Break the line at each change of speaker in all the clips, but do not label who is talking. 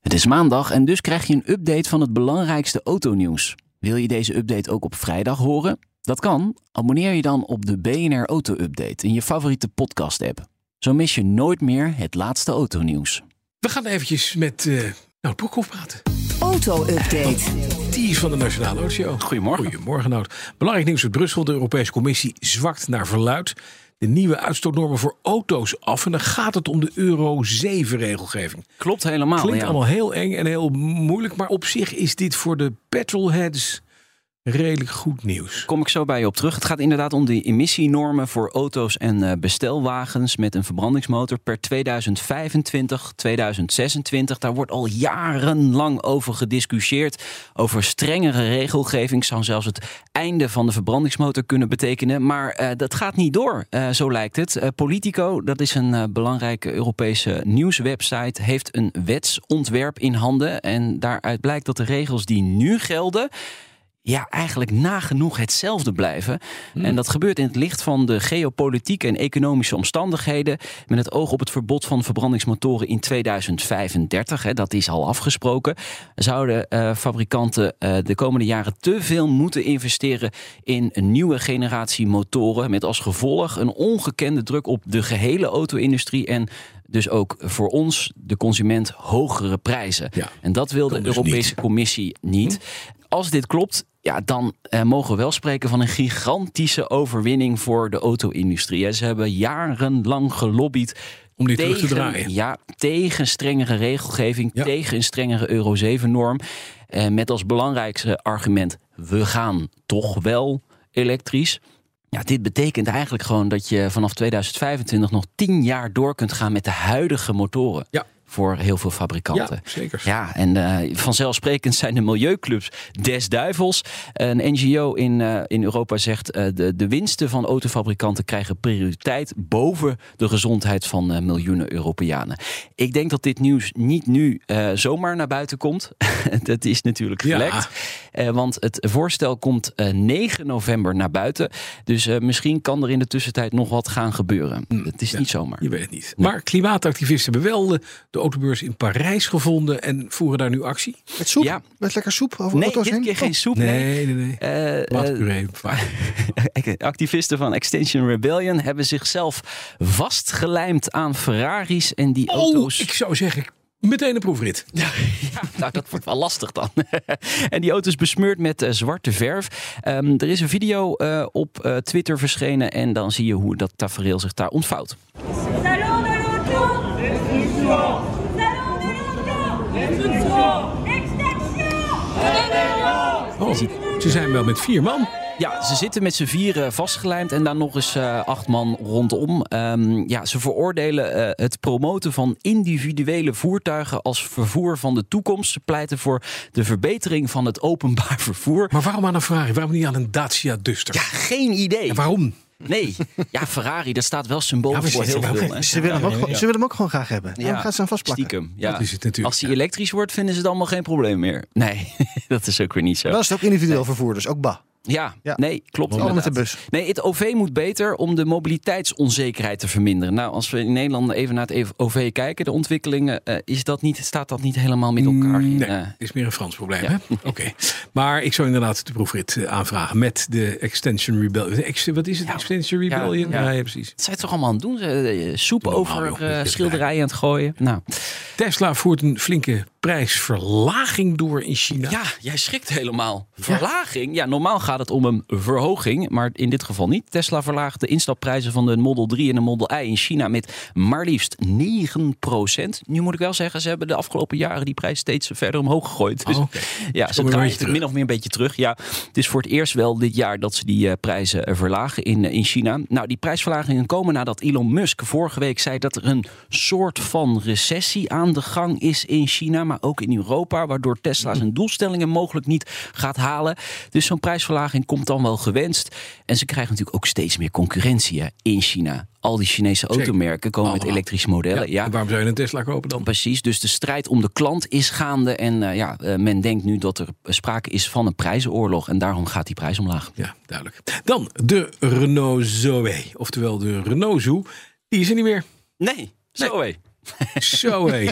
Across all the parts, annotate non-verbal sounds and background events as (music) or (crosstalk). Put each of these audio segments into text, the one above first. Het is maandag en dus krijg je een update van het belangrijkste autonieuws. Wil je deze update ook op vrijdag horen? Dat kan. Abonneer je dan op de BNR Auto Update in je favoriete podcast-app. Zo mis je nooit meer het laatste autonieuws.
We gaan eventjes met eh Nout Broekhoff praten.
Auto-update.
Die is van de Nationale Auto.
Goedemorgen.
Goedemorgen, Nout. Belangrijk nieuws uit Brussel. De Europese Commissie zwakt naar verluid de nieuwe uitstootnormen voor auto's af. En dan gaat het om de Euro 7-regelgeving.
Klopt helemaal.
Klinkt
Nou, ja.
allemaal heel eng en heel moeilijk. Maar op zich is dit voor de petrolheads redelijk goed nieuws.
Kom ik zo bij je op terug. Het gaat inderdaad om de emissienormen voor auto's en eh, bestelwagens met een verbrandingsmotor per 2025, 2026. Daar wordt al jarenlang over gediscussieerd. Over strengere regelgeving zou zelfs het einde van de verbrandingsmotor kunnen betekenen. Maar eh, dat gaat niet door, eh, zo lijkt het. Eh, Politico, dat is een eh, belangrijke Europese nieuwswebsite, heeft een wetsontwerp in handen. En daaruit blijkt dat de regels die nu gelden ja, eigenlijk nagenoeg hetzelfde blijven. En dat gebeurt in het licht van de geopolitieke en economische omstandigheden. Met het oog op het verbod van verbrandingsmotoren in 2035. Hè, dat is al afgesproken. Zouden eh, fabrikanten eh, de komende jaren te veel moeten investeren in een nieuwe generatie motoren. Met als gevolg een ongekende druk op de gehele auto-industrie. En dus ook voor ons, de consument, hogere prijzen.
Ja.
En dat wil de
Kan dus
Europese
niet.
Commissie niet. Als dit klopt, ja, dan eh, mogen we wel spreken van een gigantische overwinning voor de auto-industrie. hè. Ze hebben jarenlang gelobbyd.
Om die terug
tegen,
te draaien.
Ja, tegen strengere regelgeving,
Ja.
tegen een strengere Euro 7-norm. Eh, met als belangrijkste argument, we gaan toch wel elektrisch. Ja, dit betekent eigenlijk gewoon dat je vanaf 2025 nog 10 jaar door kunt gaan met de huidige motoren.
Ja.
Voor heel veel fabrikanten.
Ja, zeker.
Ja, en eh, vanzelfsprekend zijn de milieuclubs des duivels. Een NGO in, eh, in Europa zegt eh de, de winsten van autofabrikanten krijgen prioriteit boven de gezondheid van eh, miljoenen Europeanen. Ik denk dat dit nieuws niet nu eh, zomaar naar buiten komt. (laughs) dat is natuurlijk
Ja.
gelekt. Eh, want het voorstel komt eh, 9 november naar buiten. Dus eh, misschien kan er in de tussentijd nog wat gaan gebeuren.
Mm.
het is niet zomaar.
Je weet het niet. Maar klimaatactivisten hebben wel de, de autobeurs in Parijs gevonden en voeren daar nu actie.
Met soep?
Ja.
Met lekker soep over
Nee,
auto's
dit
heen? Oh.
keer geen soep.
Nee, nee, nee.
Eh, eh,
Wat puree.
Activisten van Extinction Rebellion hebben zichzelf vastgelijmd aan Ferraris en die
(laughs) Oh,
auto's.
ik zou zeggen, meteen een proefrit.
(laughs) Ja, nou, dat wordt wel lastig dan. (laughs) en die auto is besmeurd met eh, zwarte verf. Ehm, er is een video eh, op eh, Twitter verschenen en dan zie je hoe dat tafereel zich daar ontvouwt.
Salon de l'auto Salon de l'auto Extinction
Oh, ze zijn wel met vier man.
Ja, ze zitten met z'n vieren vastgelijmd en dan nog eens eh, acht man rondom. Ehm, ja, ze veroordelen eh, het promoten van individuele voertuigen als vervoer van de toekomst. Ze pleiten voor de verbetering van het openbaar (laughs) vervoer.
Maar waarom aan een Ferrari? Waarom niet aan een Dacia Duster?
Ja, geen idee.
En waarom?
Nee, ja, Ferrari, dat staat wel symbool
Ja, we
voor heel
zitten wel-
veel. hè.
Ze willen, hem ook, gewoon- ze willen hem ook gewoon graag hebben. Ja. Dan gaan ze hem vastplakken.
Stiekem, ja.
Dat is het natuurlijk,
Als hij
ja.
elektrisch wordt, vinden ze het allemaal geen probleem meer. Nee, (laughs) dat is ook weer niet zo.
Dan is het ook individueel vervoer, dus ook ba.
Ja,
Ja.
nee, klopt.
Allemaal met de
inderdaad.
bus.
Nee, het OV moet beter om de mobiliteitsonzekerheid te verminderen. Nou, als we in Nederland even naar het E OV kijken, de ontwikkelingen, eh, is dat niet, staat dat niet helemaal met elkaar in.
Nee,
eh,
het is meer een Frans probleem,
ja.
hè? Oké.
(laughs)
Maar ik zou inderdaad de proefrit eh, aanvragen met de Extension Rebellion. De ex- wat is het?
Ja.
Extension Rebellion?
Ja, ja.
ja precies.
wat zijn ze toch allemaal aan het doen? Ze, eh, soep
Normaal, joh,
over
met
eh,
dit
schilderijen aan het gooien. Nou,
Tesla voert een flinke prijsverlaging door in China.
Ja, jij schrikt helemaal. Verlaging? Ja, normaal gaat het om een verhoging, maar in dit geval niet. Tesla verlaagt de instapprijzen van de Model 3 en de Model I in China met maar liefst 9%. Nu moet ik wel zeggen, ze hebben de afgelopen jaren die prijs steeds verder omhoog gegooid. Dus,
Oh, oké.
Ja,
Dus
ze
kom weer een
draaien
beetje
het
terug.
min of meer een beetje terug. Ja, het is voor het eerst wel dit jaar dat ze die eh, prijzen eh, verlagen in, eh, in China. Nou, die prijsverlagingen komen nadat Elon Musk vorige week zei dat er een soort van recessie aan de gang is in China, maar ook in Europa, waardoor Tesla zijn doelstellingen mogelijk niet gaat halen. Dus zo'n prijsverlaging komt dan wel gewenst. En ze krijgen natuurlijk ook steeds meer concurrentie hè, in China. Al die Chinese
Zeker.
automerken komen met
Allemaal.
elektrische modellen. Ja,
En waarom zou je een Tesla kopen dan?
Precies, dus de strijd om de klant is gaande. En eh, ja, eh, men denkt nu dat er sprake is van een prijzenoorlog. En daarom gaat die prijs omlaag.
Ja, duidelijk. Dan de Renault Zoe, oftewel de Renault Zoo. Die is er niet meer.
Nee, zo hé.
Zoe.
(laughs)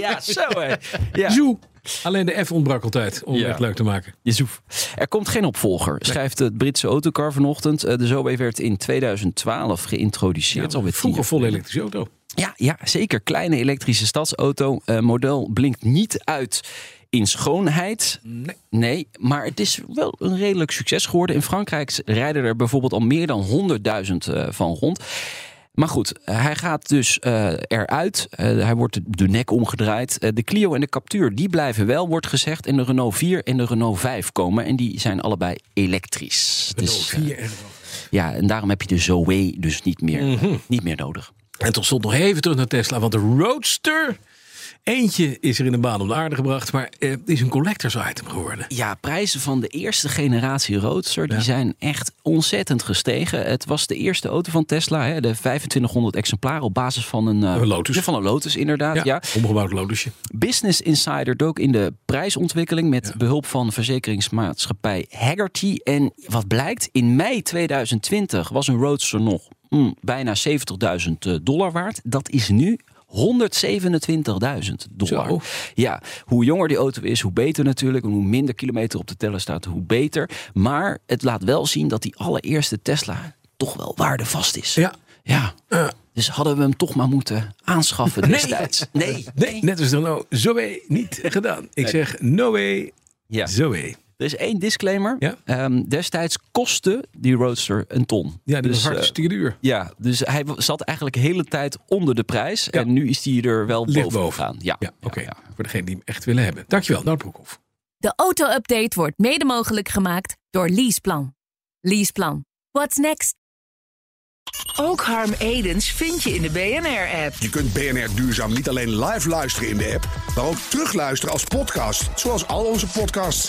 Ja, zo hé. Ja.
Zoo. Alleen de F ontbrak altijd om
Ja.
het leuk te maken.
Jezoef. Er komt geen opvolger, schrijft het Britse autocar vanochtend. Eh, De Zoe werd in 2012 geïntroduceerd. alweer tien
Vroeger
jaar
vol
geleden.
elektrische auto.
Ja, ja, zeker. Kleine elektrische stadsauto. Eh, model blinkt niet uit in schoonheid. Nee. maar het is wel een redelijk succes geworden. In Frankrijk rijden er bijvoorbeeld al meer dan 100.000 eh, van rond. Maar goed, hij gaat dus eh, eruit. Eh, hij wordt de- de nek omgedraaid. Eh, de Clio en de Captur, die blijven wel, wordt gezegd. En de Renault 4 en de Renault 5 komen. En die zijn allebei elektrisch.
Renault
Dus, eh,
4 en
ja, en daarom heb je de Zoe dus niet meer, niet meer nodig.
En tot slot nog even terug naar Tesla, want de Roadster. Eentje is er in de baan om de aarde gebracht, maar eh, het is een collectors item geworden.
Ja, prijzen van de eerste generatie Roadster die zijn echt ontzettend gestegen. Het was de eerste auto van Tesla, hè, de 2500 exemplaren op basis van een, eh,
Een Lotus.
Van een Lotus inderdaad. Ja.
Omgebouwd Lotusje.
Business Insider dook in de prijsontwikkeling met behulp van verzekeringsmaatschappij Haggerty. En wat blijkt, in mei 2020 was een Roadster nog mm, bijna 70.000 dollar waard. Dat is nu 127.000 dollar.
Zo.
Ja, hoe jonger die auto is, hoe beter natuurlijk. En hoe minder kilometer op de teller staat, hoe beter. Maar het laat wel zien dat die allereerste Tesla toch wel waardevast is.
Ja. eh,
Ja. Dus hadden we hem toch maar moeten aanschaffen destijds. Nee.
Nee, net als de Renault Zoe
(laughs)
niet gedaan. Ik zeg no way,
Ja.
Zoe.
Er is één disclaimer.
Ja.
Ehm, destijds kostte die Roadster een ton.
Ja, die was
eh,
hartstikke duur.
ja, dus hij wa- zat eigenlijk de hele tijd onder de prijs.
Ja.
En nu is die er wel
Ligt
boven
boven.
gegaan. Ja,
Ja, oké.
ja.
Voor degene die hem echt willen hebben. Dankjewel, Nout Broekhoff.
De auto-update wordt mede mogelijk gemaakt door Leaseplan. Leaseplan. What's next?
Ook Harm Edens vind je in de BNR-app.
Je kunt BNR Duurzaam niet alleen live luisteren in de app, maar ook terugluisteren als podcast, zoals al onze podcasts.